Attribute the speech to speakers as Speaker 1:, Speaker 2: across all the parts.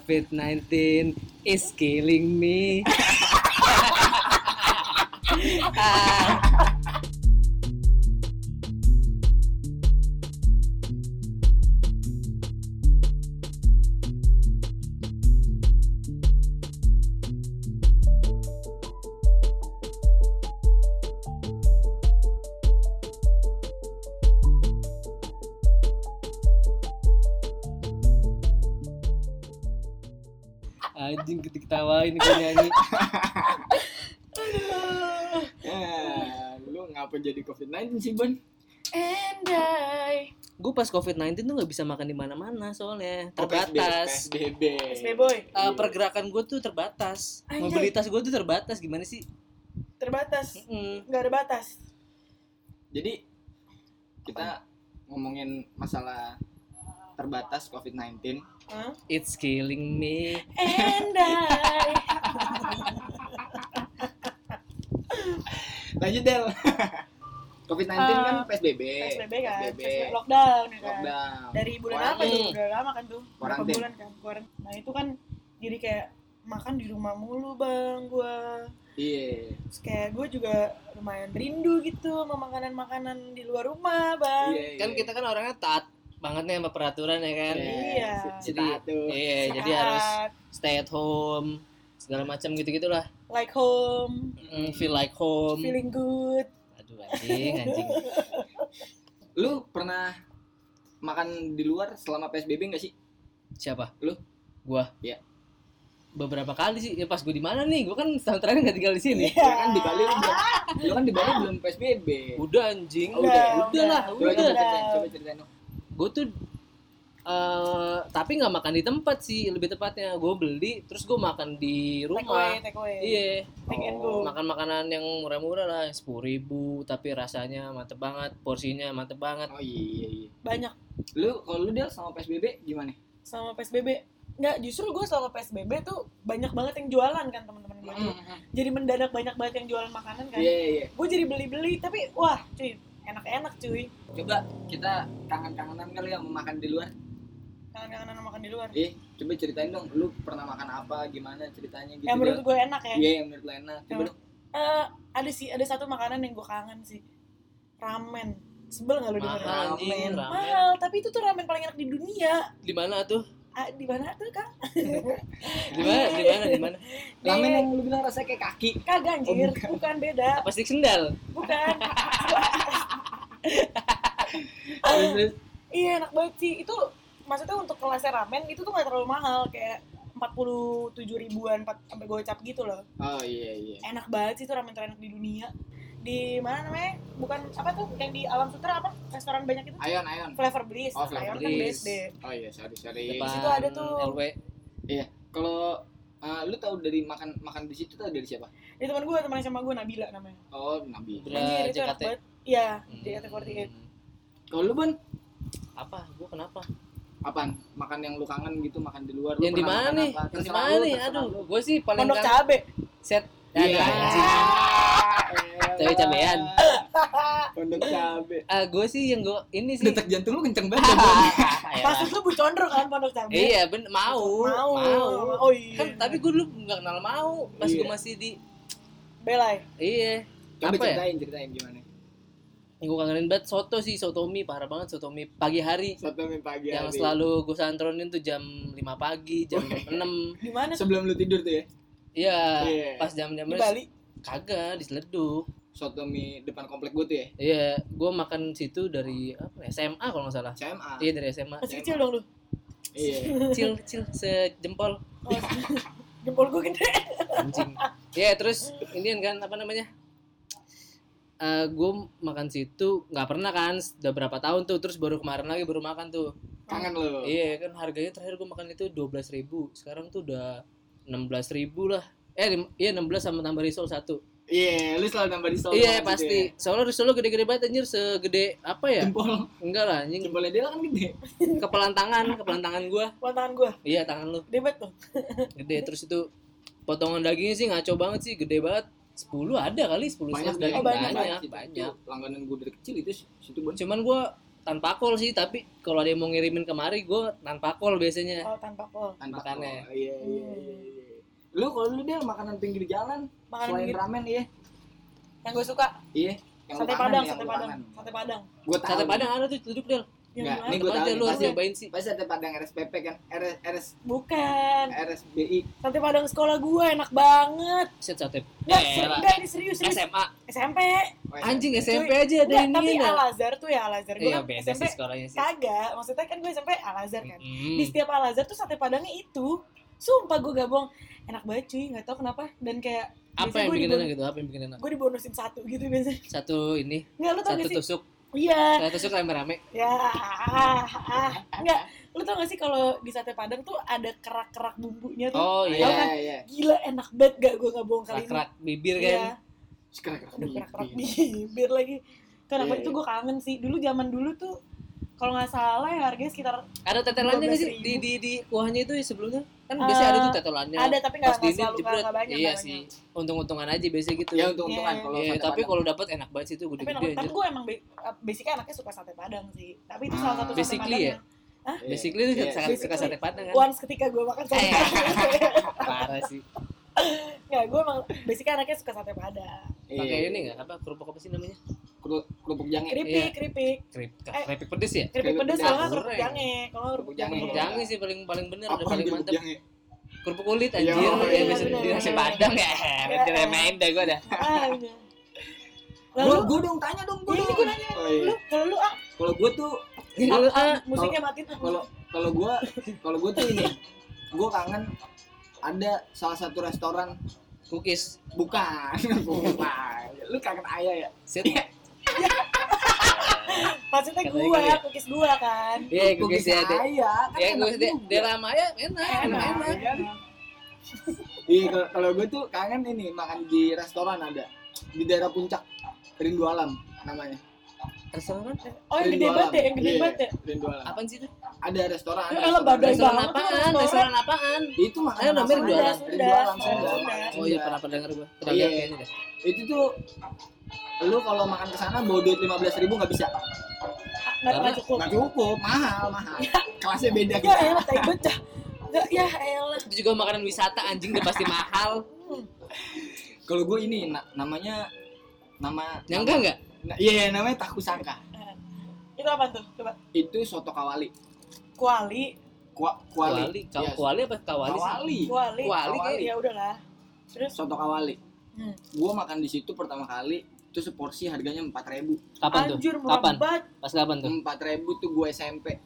Speaker 1: COVID-19 is killing me. Anjing ketawain gue nyanyi.
Speaker 2: Ya, lu ngapa jadi COVID-19 sih, Bon?
Speaker 3: And I
Speaker 1: Gue pas COVID-19 tuh nggak bisa makan di mana-mana soalnya
Speaker 2: Oh,
Speaker 1: terbatas.
Speaker 2: PSBB.
Speaker 3: SB Boy
Speaker 2: Iya.
Speaker 1: Eh, pergerakan gue tuh terbatas,
Speaker 3: Anjay.
Speaker 1: mobilitas gue tuh terbatas. Gimana sih?
Speaker 3: Terbatas
Speaker 1: Mm-mm.
Speaker 3: Gak ada batas
Speaker 2: Jadi kita ngomongin masalah terbatas COVID-19.
Speaker 3: Hah?
Speaker 1: It's killing me.
Speaker 3: And I
Speaker 2: Lanjut Del. COVID-19
Speaker 3: Ah,
Speaker 2: kan PSBB.
Speaker 1: Eh,
Speaker 3: PSBB kan PSBB Lockdown ya kan
Speaker 2: Lockdown.
Speaker 3: Dari bulan
Speaker 2: Wah,
Speaker 3: apa tuh?
Speaker 1: ini.
Speaker 3: Udah lama kan tuh Berapa
Speaker 2: Karantin.
Speaker 3: bulan kan Kuaran- Nah itu kan Jadi kayak Makan di rumah mulu bang gua
Speaker 2: Iya.
Speaker 3: Terus kayak gue juga lumayan rindu gitu sama makanan-makanan di luar rumah bang
Speaker 2: Iya.
Speaker 1: Kan kita kan orangnya taat banget nih sama peraturan ya kan.
Speaker 3: Iya.
Speaker 2: Jadi itu.
Speaker 1: Iya,
Speaker 3: Saat
Speaker 1: jadi harus stay at home segala macam gitu gitulah.
Speaker 3: Like home
Speaker 1: Mm, feel like home.
Speaker 3: Feeling good
Speaker 1: Aduh anjing anjing.
Speaker 2: Lu pernah makan di luar selama PSBB nggak sih?
Speaker 1: Siapa?
Speaker 2: Lu?
Speaker 1: Gua.
Speaker 2: Iya.
Speaker 1: Beberapa kali sih. Ya pas gua di mana nih? Gua kan setahun terakhir nggak tinggal di sini.
Speaker 3: Iya.
Speaker 2: Ya kan di Bali lu belum, lu kan di Bali belum PSBB.
Speaker 1: Udah anjing.
Speaker 2: Oh, udah,
Speaker 1: udah, lah,
Speaker 2: Coba
Speaker 1: udah.
Speaker 2: coba ceritain, coba ceritain. dong.
Speaker 1: gue tuh eh tapi nggak makan di tempat sih lebih tepatnya gue beli terus gue makan di
Speaker 3: Take away,
Speaker 1: rumah
Speaker 3: take away.
Speaker 1: iya
Speaker 3: Take and go.
Speaker 2: Oh,
Speaker 1: makan makanan yang murah-murah lah sepuluh ribu tapi rasanya mantep banget porsinya mantep banget
Speaker 2: Oh iya iya.
Speaker 3: Banyak
Speaker 2: Lu kalau lu Del sama PSBB gimana?
Speaker 3: sama PSBB. Nggak, justru gue selama PSBB tuh banyak banget yang jualan kan teman-teman gue tuh. Jadi mendadak banyak banget yang jualan makanan kan.
Speaker 2: Hmm. Iya iya.
Speaker 3: Gue jadi beli-beli, tapi wah cuy, enak-enak cuy.
Speaker 2: Coba kita kangen-kangenan kali yang makan di luar.
Speaker 3: Kangen-kangenan makan di luar.
Speaker 2: Eh, coba ceritain dong, lu pernah makan apa, gimana ceritanya gitu.
Speaker 3: yang menurut
Speaker 2: Del.
Speaker 3: gue enak ya.
Speaker 2: Iya, yang menurut lu enak. Coba
Speaker 3: Yang-
Speaker 2: dong.
Speaker 3: Eh, ada sih, ada satu makanan yang gue kangen sih. Ramen. Sebel nggak lu denger?
Speaker 1: mahal anjing
Speaker 2: ramen.
Speaker 3: Ah.
Speaker 1: ramen
Speaker 3: Mahal, tapi itu tuh ramen paling enak di dunia.
Speaker 1: di mana tuh
Speaker 3: Ah, di mana tuh kang?
Speaker 1: di mana di mana di mana
Speaker 2: Ramen
Speaker 3: Di-
Speaker 2: yang lu bilang rasanya kayak kaki.
Speaker 3: Kagak anjir,
Speaker 2: Oh,
Speaker 3: bukan. beda,
Speaker 1: pasti sendal
Speaker 3: bukan. Ah.
Speaker 2: Terus, terus.
Speaker 3: Iya enak banget sih. Itu maksudnya untuk kelasnya ramen itu tuh nggak terlalu mahal kayak 47 ribuan 4, sampai gocap gitu loh.
Speaker 2: Oh iya iya.
Speaker 3: Enak banget sih itu ramen terenak di dunia. Di mana namanya? Bukan apa tuh yang di Alam Sutra apa? Restoran banyak itu.
Speaker 2: Ayon, ayon.
Speaker 3: Flavor Bliss.
Speaker 2: Oh, Flavor
Speaker 3: Ayon kan
Speaker 1: Bliss.
Speaker 3: BSD.
Speaker 2: Oh iya, sorry, sorry.
Speaker 1: depan
Speaker 3: situ ada tuh.
Speaker 1: LW
Speaker 2: Kalau eh, lu tahu dari makan makan di situ tahu dari siapa?
Speaker 3: Itu teman gue, teman sama gue Nabila namanya.
Speaker 2: Oh, Nabi.
Speaker 1: Bra,
Speaker 3: Anjir, itu enak
Speaker 1: JKT.
Speaker 3: banget. Iya,
Speaker 1: Hmm,
Speaker 3: JKT48.
Speaker 2: Kalau lu, Bon,
Speaker 1: apa gue kenapa
Speaker 2: apaan? Makan yang lu kangen gitu, makan di luar. Lu
Speaker 1: yang di mana
Speaker 2: pernah makan
Speaker 1: nih
Speaker 2: apa?
Speaker 1: yang di
Speaker 2: Terserah
Speaker 1: mana
Speaker 2: lu,
Speaker 1: nih
Speaker 2: terserah lu.
Speaker 1: aduh gue sih paling
Speaker 3: Pondok
Speaker 1: kangen-
Speaker 3: Cabe.
Speaker 1: set Ya,
Speaker 2: Iya.
Speaker 1: ada anjing
Speaker 2: Elah.
Speaker 1: Cabe-cabean.
Speaker 2: Pondok cabe.
Speaker 1: Ah, gue sih yang gue ini sih. Ah,
Speaker 2: Detak jantung lu kenceng banget.
Speaker 1: ya?
Speaker 3: Maksud lu Bu Condro kan Pondok Cabe?
Speaker 1: iya, ben mau,
Speaker 3: Mau. Oh iya.
Speaker 1: Kan tapi gue dulu nggak kenal mau pas
Speaker 2: Iya.
Speaker 1: gue masih di
Speaker 3: Belai.
Speaker 1: iya.
Speaker 2: Coba
Speaker 1: Apa ya?
Speaker 2: ceritain, ceritain gimana?
Speaker 1: Yang gue kangenin banget soto sih, soto mie parah banget soto mie pagi hari.
Speaker 2: Satu mie pagi
Speaker 1: yang
Speaker 2: hari.
Speaker 1: selalu gue santronin tuh jam 5 pagi, jam 6.
Speaker 3: Di mana?
Speaker 2: sebelum lu tidur tuh ya.
Speaker 1: Iya,
Speaker 2: Iya.
Speaker 1: pas jam-jam
Speaker 3: Di Bali.
Speaker 1: kagak diseleduk.
Speaker 2: Soto mie depan komplek gue tuh ya.
Speaker 1: Iya, gue makan situ dari apa ya, SMA kalau nggak salah.
Speaker 2: CMA.
Speaker 1: Iya, dari SMA.
Speaker 3: Masih kecil dong lu.
Speaker 2: Iya.
Speaker 1: Kecil, kecil sejempol.
Speaker 3: Oh, jempol gue gede.
Speaker 1: anjing ya terus ini kan apa namanya Eh gue makan situ nggak pernah kan udah berapa tahun tuh terus baru kemarin lagi baru makan tuh
Speaker 2: Kangen lu.
Speaker 1: iya kan harganya terakhir gue makan itu dua belas ribu sekarang tuh udah enam belas ribu lah eh lim- iya enam belas sama tambah risol satu
Speaker 2: Iya, lu selalu nambah di soto.
Speaker 1: iya
Speaker 2: gitu
Speaker 1: pasti soalnya risol lo gede-gede banget anjir segede apa ya
Speaker 2: ya. Jempol,
Speaker 1: enggak lah anjing
Speaker 2: jempolnya dia kan gede.
Speaker 1: kepelan tangan kepelan tangan gue
Speaker 3: Buat tangan gue.
Speaker 1: iya tangan lo
Speaker 3: Debet tuh.
Speaker 1: gede terus itu potongan dagingnya sih ngaco banget sih gede banget 10 ada kali 10
Speaker 2: Banyak
Speaker 1: daging
Speaker 3: banyak,
Speaker 1: banyak,
Speaker 2: Situ.
Speaker 1: banyak.
Speaker 2: Langganan gue dari kecil itu situ bon.
Speaker 1: cuman gua tanpa kol sih tapi kalau ada yang mau ngirimin kemari gue tanpa kol biasanya
Speaker 3: kalau tanpa kol
Speaker 2: Tanpa
Speaker 1: Makannya.
Speaker 2: kol. Iya, iya, iya, iya. Lu kalau lu dia makanan pinggir jalan
Speaker 3: makanan
Speaker 2: selain
Speaker 3: pinggir
Speaker 2: ramen iya.
Speaker 3: yang gue suka
Speaker 2: Iya. Yang lu kangen,
Speaker 3: sate
Speaker 1: ya,
Speaker 3: padang
Speaker 2: yang
Speaker 3: sate
Speaker 2: lu
Speaker 3: padang
Speaker 2: kangen.
Speaker 3: sate padang
Speaker 2: Gua Oh, tahu.
Speaker 1: sate padang ada tuh duduk deh
Speaker 2: Nggak,
Speaker 3: yang gimana?
Speaker 2: ini gua
Speaker 1: Tempat aja
Speaker 2: tahu,
Speaker 1: lu harus
Speaker 2: pasti.
Speaker 1: nyobain sih
Speaker 2: Pasti sate padang RSPP kan. RS, RS
Speaker 3: bukan
Speaker 2: RSBI.
Speaker 3: sate padang sekolah gue enak banget
Speaker 1: set sate
Speaker 2: Iya,
Speaker 3: Nggak,
Speaker 1: Eh,
Speaker 3: se-
Speaker 1: elah.
Speaker 3: nggak, ini serius serius
Speaker 1: SMA
Speaker 3: SMP
Speaker 1: anjing
Speaker 3: Cuy,
Speaker 1: SMP aja ada
Speaker 3: Nggak,
Speaker 1: yang
Speaker 3: tapi
Speaker 1: ini
Speaker 3: Al Azhar tuh ya Al Azhar gue
Speaker 1: iya
Speaker 3: kan
Speaker 1: beda
Speaker 3: SMP
Speaker 1: sih sekolahnya sih
Speaker 3: kagak maksudnya kan gue SMP Al Azhar kan
Speaker 1: Mm.
Speaker 3: di setiap Al Azhar tuh sate padangnya itu sumpah gue gak bohong enak banget cuy nggak tahu kenapa dan kayak
Speaker 1: apa
Speaker 3: biasanya
Speaker 1: yang
Speaker 3: gue
Speaker 1: bikin
Speaker 3: dibon-
Speaker 1: enak gitu apa yang bikin enak
Speaker 3: gue dibonusin satu gitu biasanya
Speaker 1: satu ini
Speaker 3: nggak lu tau
Speaker 1: satu
Speaker 3: gak sih
Speaker 1: tusuk
Speaker 3: iya
Speaker 1: satu tusuk rame-rame
Speaker 3: ya ah, ah. nggak lu tau gak sih kalau di sate padang tuh ada kerak-kerak bumbunya tuh
Speaker 1: oh
Speaker 2: Iya,
Speaker 1: iya
Speaker 2: iya, iya.
Speaker 3: gila enak banget gak gue gak bohong kali ini
Speaker 1: kerak bibir
Speaker 3: Iya.
Speaker 1: kan
Speaker 2: Sekarang
Speaker 3: Aduh, kerak-kerak bibir lagi. Kenapa
Speaker 2: Iya,
Speaker 3: itu
Speaker 2: iya.
Speaker 3: gue kangen sih. Dulu zaman dulu tuh kalau nggak salah ya harganya sekitar
Speaker 1: ada tetelannya nggak sih
Speaker 3: 12.000.
Speaker 1: di di di kuahnya itu sebelumnya kan biasanya ada tuh tetelannya
Speaker 3: Ah, ada tapi
Speaker 1: Ya, pas
Speaker 3: nggak nggak
Speaker 1: dini
Speaker 3: selalu nggak
Speaker 1: jebret
Speaker 3: nggak banyak.
Speaker 1: iya
Speaker 3: nggak
Speaker 1: sih
Speaker 3: banyak.
Speaker 1: untung-untungan aja biasanya gitu
Speaker 2: Ya untung-untungan
Speaker 3: Iya.
Speaker 2: kalau
Speaker 1: Iya,
Speaker 2: sate
Speaker 1: tapi
Speaker 2: padang.
Speaker 1: kalau dapat enak banget sih itu
Speaker 3: Tapi, enak,
Speaker 1: gede-gede
Speaker 3: tapi
Speaker 1: anjir.
Speaker 3: gue emang be- uh, basicnya anaknya suka sate padang sih. Tapi itu salah
Speaker 2: Ah,
Speaker 3: satu sate
Speaker 1: basically
Speaker 3: padang.
Speaker 1: ya?
Speaker 3: yang-
Speaker 2: Iya.
Speaker 1: Basically itu
Speaker 2: Iya.
Speaker 1: sangat suka sate padang kan.
Speaker 3: Once ketika gue makan sate
Speaker 1: Eh.
Speaker 3: padang.
Speaker 1: Parah sih.
Speaker 3: Nggak, gue emang basicnya anaknya suka sate padang.
Speaker 2: Iya.
Speaker 1: Pakai ini enggak apa kerupuk apa sih namanya?
Speaker 2: Keru- kerupuk jange.
Speaker 3: Keripik,
Speaker 1: Iya.
Speaker 3: keripik.
Speaker 1: Kerip,
Speaker 3: Eh.
Speaker 1: keripik pedes ya?
Speaker 3: Keripik
Speaker 2: Keripik
Speaker 3: pedas kalau nggak
Speaker 1: goreng.
Speaker 3: kerupuk jange. Kalau nggak kerupuk
Speaker 2: Kerupuk jange.
Speaker 3: jange.
Speaker 1: Kerupuk jange sih paling paling bener udah
Speaker 2: Apaan
Speaker 1: paling
Speaker 2: kerupuk
Speaker 1: mantep.
Speaker 2: jange?
Speaker 1: Kerupuk kulit
Speaker 2: gitu? Ya. Iya,
Speaker 1: anjir.
Speaker 2: iya,
Speaker 1: Ya bisa
Speaker 3: bener,
Speaker 1: di nasi
Speaker 3: bener.
Speaker 1: padang ya.
Speaker 3: Iya.
Speaker 1: Diremehin dah gue dah.
Speaker 3: Ah, iya.
Speaker 2: Gua
Speaker 3: Lalu,
Speaker 2: gua dong tanya dong gua
Speaker 3: Iya,
Speaker 2: dong.
Speaker 3: gua nanya.
Speaker 2: Oh, iya.
Speaker 3: lu, kalau lu, ah,
Speaker 2: Kalau gua tuh Iya.
Speaker 1: Lalu ah
Speaker 3: musiknya matiin. ah.
Speaker 2: kalau kalau gua kalau gua tuh ini gua kangen ada salah satu restoran
Speaker 1: cookies.
Speaker 2: bukan bukan lu kangen ayah ya
Speaker 1: Set.
Speaker 3: Maksudnya
Speaker 1: Katanya
Speaker 3: gue,
Speaker 1: gitu ya.
Speaker 3: kukis gue kan.
Speaker 1: Iya, cookies ya. Dek.
Speaker 2: ayah kan
Speaker 1: Ya
Speaker 2: enak
Speaker 1: gue deh
Speaker 2: juga.
Speaker 1: daerah Maya enak, enak,
Speaker 3: Enak.
Speaker 1: enak.
Speaker 2: kan? Iya, kalau- kalau gue tuh kangen ini makan di restoran ada di daerah puncak Rindu Alam namanya.
Speaker 1: Restoran
Speaker 3: Oh yang gede
Speaker 2: Rindu
Speaker 3: banget ya,
Speaker 2: Alam.
Speaker 3: yang gede
Speaker 2: Iya,
Speaker 3: banget ya.
Speaker 2: Rindu Alam.
Speaker 1: apaan sih itu?
Speaker 2: Ada restoran.
Speaker 3: Ya, elah,
Speaker 2: restoran.
Speaker 3: badai
Speaker 1: Restoran
Speaker 3: banget tuh
Speaker 1: apaan?
Speaker 3: restoran.
Speaker 1: Restoran apaan?
Speaker 2: Itu makanan
Speaker 1: Ayo, namanya Rindu Alam.
Speaker 2: Rindu Alam.
Speaker 3: Sunda,
Speaker 2: Sunda,
Speaker 3: Sunda.
Speaker 2: makanan
Speaker 1: Oh iya
Speaker 2: Sunda.
Speaker 1: pernah pernah denger gue. Pernah
Speaker 2: Iya.
Speaker 1: lihat kayaknya dah.
Speaker 2: Itu tuh lu kalau makan ke sana bawa duit 15 ribu nggak bisa.
Speaker 3: Ah, Nggak nggak cukup.
Speaker 2: Nggak cukup, mahal, mahal. Kelasnya beda
Speaker 3: Ya
Speaker 2: gitu.
Speaker 3: elah, tai becah. Nggak, ya elah. Hmm,
Speaker 1: Itu juga makanan wisata anjing udah pasti mahal.
Speaker 2: Kalau gue ini na- namanya nama
Speaker 1: Nyangka nggak?
Speaker 2: na- iya namanya tahu sangka.
Speaker 3: Itu apa tuh? Coba.
Speaker 2: Itu soto kawali.
Speaker 3: Kuali,
Speaker 2: Kua, kuali.
Speaker 1: Kuali, Ka-
Speaker 2: Iya,
Speaker 1: kuali apa kawali sih?
Speaker 2: Kawali.
Speaker 3: kuali.
Speaker 1: Kuali kayaknya.
Speaker 3: Ya udahlah. Terus
Speaker 2: Soto kawali.
Speaker 3: Hmm.
Speaker 2: Gua makan di situ pertama kali itu seporsi harganya empat ribu
Speaker 1: Kapan tuh?
Speaker 3: anjur murah
Speaker 1: Kapan?
Speaker 3: banget.
Speaker 1: Pas kapan tuh?
Speaker 2: empat ribu tuh gue SMP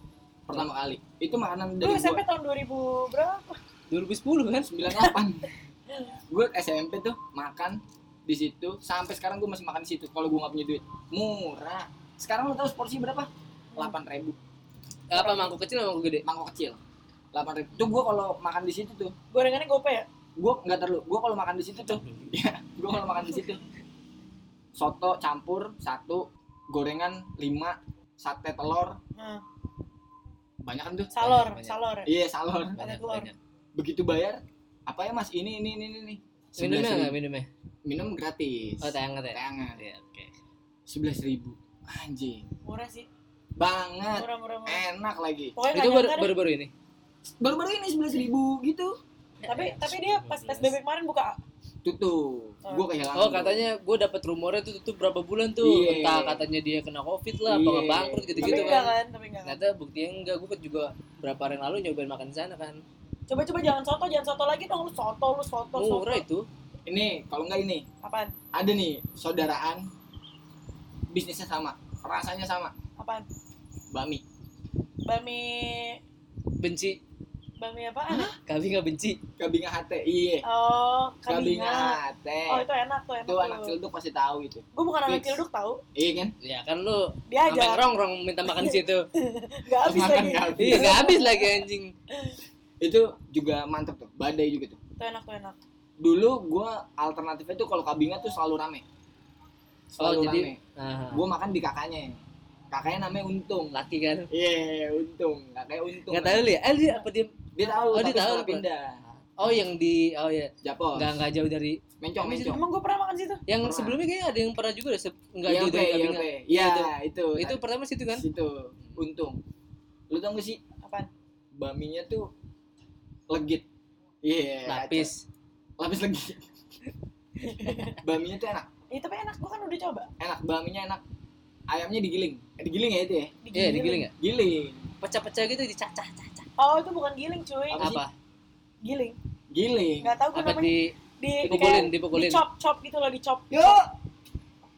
Speaker 2: pertama kali itu makanan
Speaker 3: Lu
Speaker 2: dari
Speaker 3: SMP
Speaker 2: gue
Speaker 3: tahun 2000 berapa?
Speaker 1: 2010 kan?
Speaker 2: 98 gue SMP tuh makan di situ sampai sekarang gue masih makan di situ kalau gue nggak punya duit murah sekarang lo tahu seporsi berapa delapan ribu
Speaker 1: Apa mangkuk kecil sama mangkuk gede?
Speaker 2: mangkok kecil delapan ribu tuh gue kalau makan di situ tuh
Speaker 3: Gorengannya gope ya?
Speaker 2: gue nggak terlalu gue kalau makan di situ tuh ya gue kalau makan di situ soto campur satu gorengan lima sate telur
Speaker 3: Nah,
Speaker 2: banyak kan tuh
Speaker 1: Banyak,
Speaker 3: salor,
Speaker 1: banyak.
Speaker 3: salor. ya?
Speaker 2: iya salur
Speaker 1: Banyak
Speaker 3: telur.
Speaker 1: banyak.
Speaker 2: begitu bayar apa ya mas ini ini ini ini nih
Speaker 1: Minumnya nggak
Speaker 2: 11.000.
Speaker 1: minumnya?
Speaker 2: minum gratis
Speaker 1: Oh tayang nggak ya?
Speaker 2: tayangan
Speaker 1: Iya oke.
Speaker 2: sebelas ribu anjing
Speaker 3: Murah sih.
Speaker 2: banget
Speaker 3: Murah, murah, murah.
Speaker 2: enak lagi
Speaker 1: Ah.
Speaker 3: Pokoknya
Speaker 1: Itu
Speaker 3: nggak
Speaker 1: baru
Speaker 3: nyangka deh.
Speaker 1: baru baru ini.
Speaker 2: baru-baru ini sebelas ribu gitu
Speaker 3: Tapi tapi
Speaker 1: Iya,
Speaker 3: dia pas PSBB kemarin buka
Speaker 2: tutup
Speaker 3: Oh.
Speaker 2: gue kehilangan
Speaker 1: Oh katanya gue dapet rumornya tuh tutup berapa bulan tuh
Speaker 2: Iya.
Speaker 1: entah katanya dia kena covid lah apa
Speaker 2: Iya.
Speaker 1: nggak bangkrut gitu
Speaker 3: tapi
Speaker 1: gitu
Speaker 3: enggak
Speaker 1: kan
Speaker 3: kan, tapi enggak. kan.
Speaker 1: ternyata buktinya enggak gue juga berapa hari yang lalu nyobain makan di sana kan
Speaker 3: Coba-coba jangan soto, jangan soto lagi dong lu soto, lu soto, soto.
Speaker 1: murah itu
Speaker 2: ini kalau nggak ini
Speaker 3: Apaan?
Speaker 2: ada nih saudaraan bisnisnya sama rasanya sama
Speaker 3: Apaan?
Speaker 2: bami
Speaker 3: Bami
Speaker 1: benci
Speaker 3: Bami apaan?
Speaker 1: kami nggak benci
Speaker 2: kabinga hate iya
Speaker 3: Oh,
Speaker 2: kabinga
Speaker 3: kabinga.
Speaker 2: hate
Speaker 3: Oh, itu enak tuh, enak
Speaker 2: itu anak
Speaker 3: tuh.
Speaker 2: cilduk pasti tahu gitu
Speaker 3: Gue bukan anak
Speaker 1: Fix.
Speaker 3: cilduk tahu.
Speaker 2: iya kan
Speaker 1: ya kan lu
Speaker 3: Dia
Speaker 1: sampai
Speaker 3: aja
Speaker 1: ngerong rong minta makan di situ
Speaker 3: enggak habis
Speaker 2: makan
Speaker 3: lagi.
Speaker 2: nggak habis.
Speaker 1: iya nggak habis lagi anjing
Speaker 2: itu juga mantep tuh badai juga tuh
Speaker 3: Tuh enak tuh enak.
Speaker 2: dulu gua alternatifnya tuh kalau kabinga tuh selalu rame selalu
Speaker 1: Oh, jadi-
Speaker 2: rame
Speaker 1: nah,
Speaker 2: gue makan di kakaknya kakaknya namanya untung
Speaker 1: laki kan
Speaker 2: iya untung kakaknya untung
Speaker 1: nggak tahu lu ya eh, dia apa dia
Speaker 2: dia tahu
Speaker 1: Oh,
Speaker 2: tapi
Speaker 1: dia tahu
Speaker 2: setelah
Speaker 1: apa?
Speaker 2: pindah
Speaker 1: Oh yang di oh ya
Speaker 2: Japos.
Speaker 1: nggak nggak jauh dari
Speaker 2: Mencong,
Speaker 3: Habis itu,
Speaker 2: mencong.
Speaker 3: emang gue pernah makan situ
Speaker 1: yang
Speaker 2: Pernah.
Speaker 1: sebelumnya kayaknya ada yang pernah juga deh se- nggak jauh
Speaker 2: ILP,
Speaker 1: dari
Speaker 2: ILP.
Speaker 1: Kabinda.
Speaker 2: Iya,
Speaker 1: Iya,
Speaker 2: itu.
Speaker 1: Itu pertama situ kan?
Speaker 2: Situ. Untung. Lu tau gak sih
Speaker 3: apaan
Speaker 2: baminya tuh legit. Iya.
Speaker 1: Lapis.
Speaker 2: Lapis legit. baminya tuh enak.
Speaker 3: ya tapi enak gue kan udah coba
Speaker 2: Enak, baminya enak. Ayamnya digiling. Eh, Digiling ya itu ya?
Speaker 1: Iya, digiling ya?
Speaker 2: Giling.
Speaker 1: Pecah-pecah gitu dicacah-cacah.
Speaker 3: oh itu bukan giling cuy
Speaker 2: Apa sih?
Speaker 1: Apa?
Speaker 3: giling
Speaker 2: Giling.
Speaker 3: nggak tahu gue
Speaker 1: Apa
Speaker 3: namanya
Speaker 1: di
Speaker 3: di
Speaker 1: dipukulin, dipukulin.
Speaker 3: chop chop gitu loh di chop
Speaker 2: Yuk.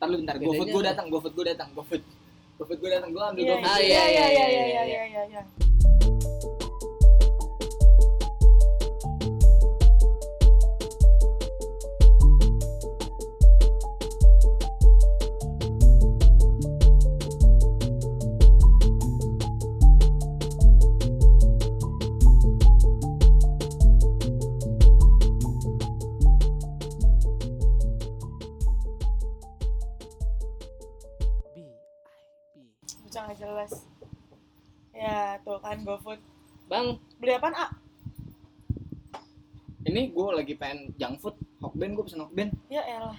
Speaker 2: Ntar lu bentar,
Speaker 1: Bedanya
Speaker 2: GoFood gue
Speaker 1: apa?
Speaker 2: datang, GoFood gue datang, GoFood. GoFood gue datang, gue ambil
Speaker 3: Iya,
Speaker 2: GoFood.
Speaker 1: Ah,
Speaker 3: iya, iya, iya,
Speaker 1: iya,
Speaker 3: iya,
Speaker 1: iya.
Speaker 3: iya, iya, iya. Bocah nggak jelas. Ya, tuh kan GoFood.
Speaker 1: Bang,
Speaker 3: Beli apaan, Ah, A?
Speaker 2: Ini gue lagi pengen junk food, Hokben gue pesen Hokben.
Speaker 3: Ya elah.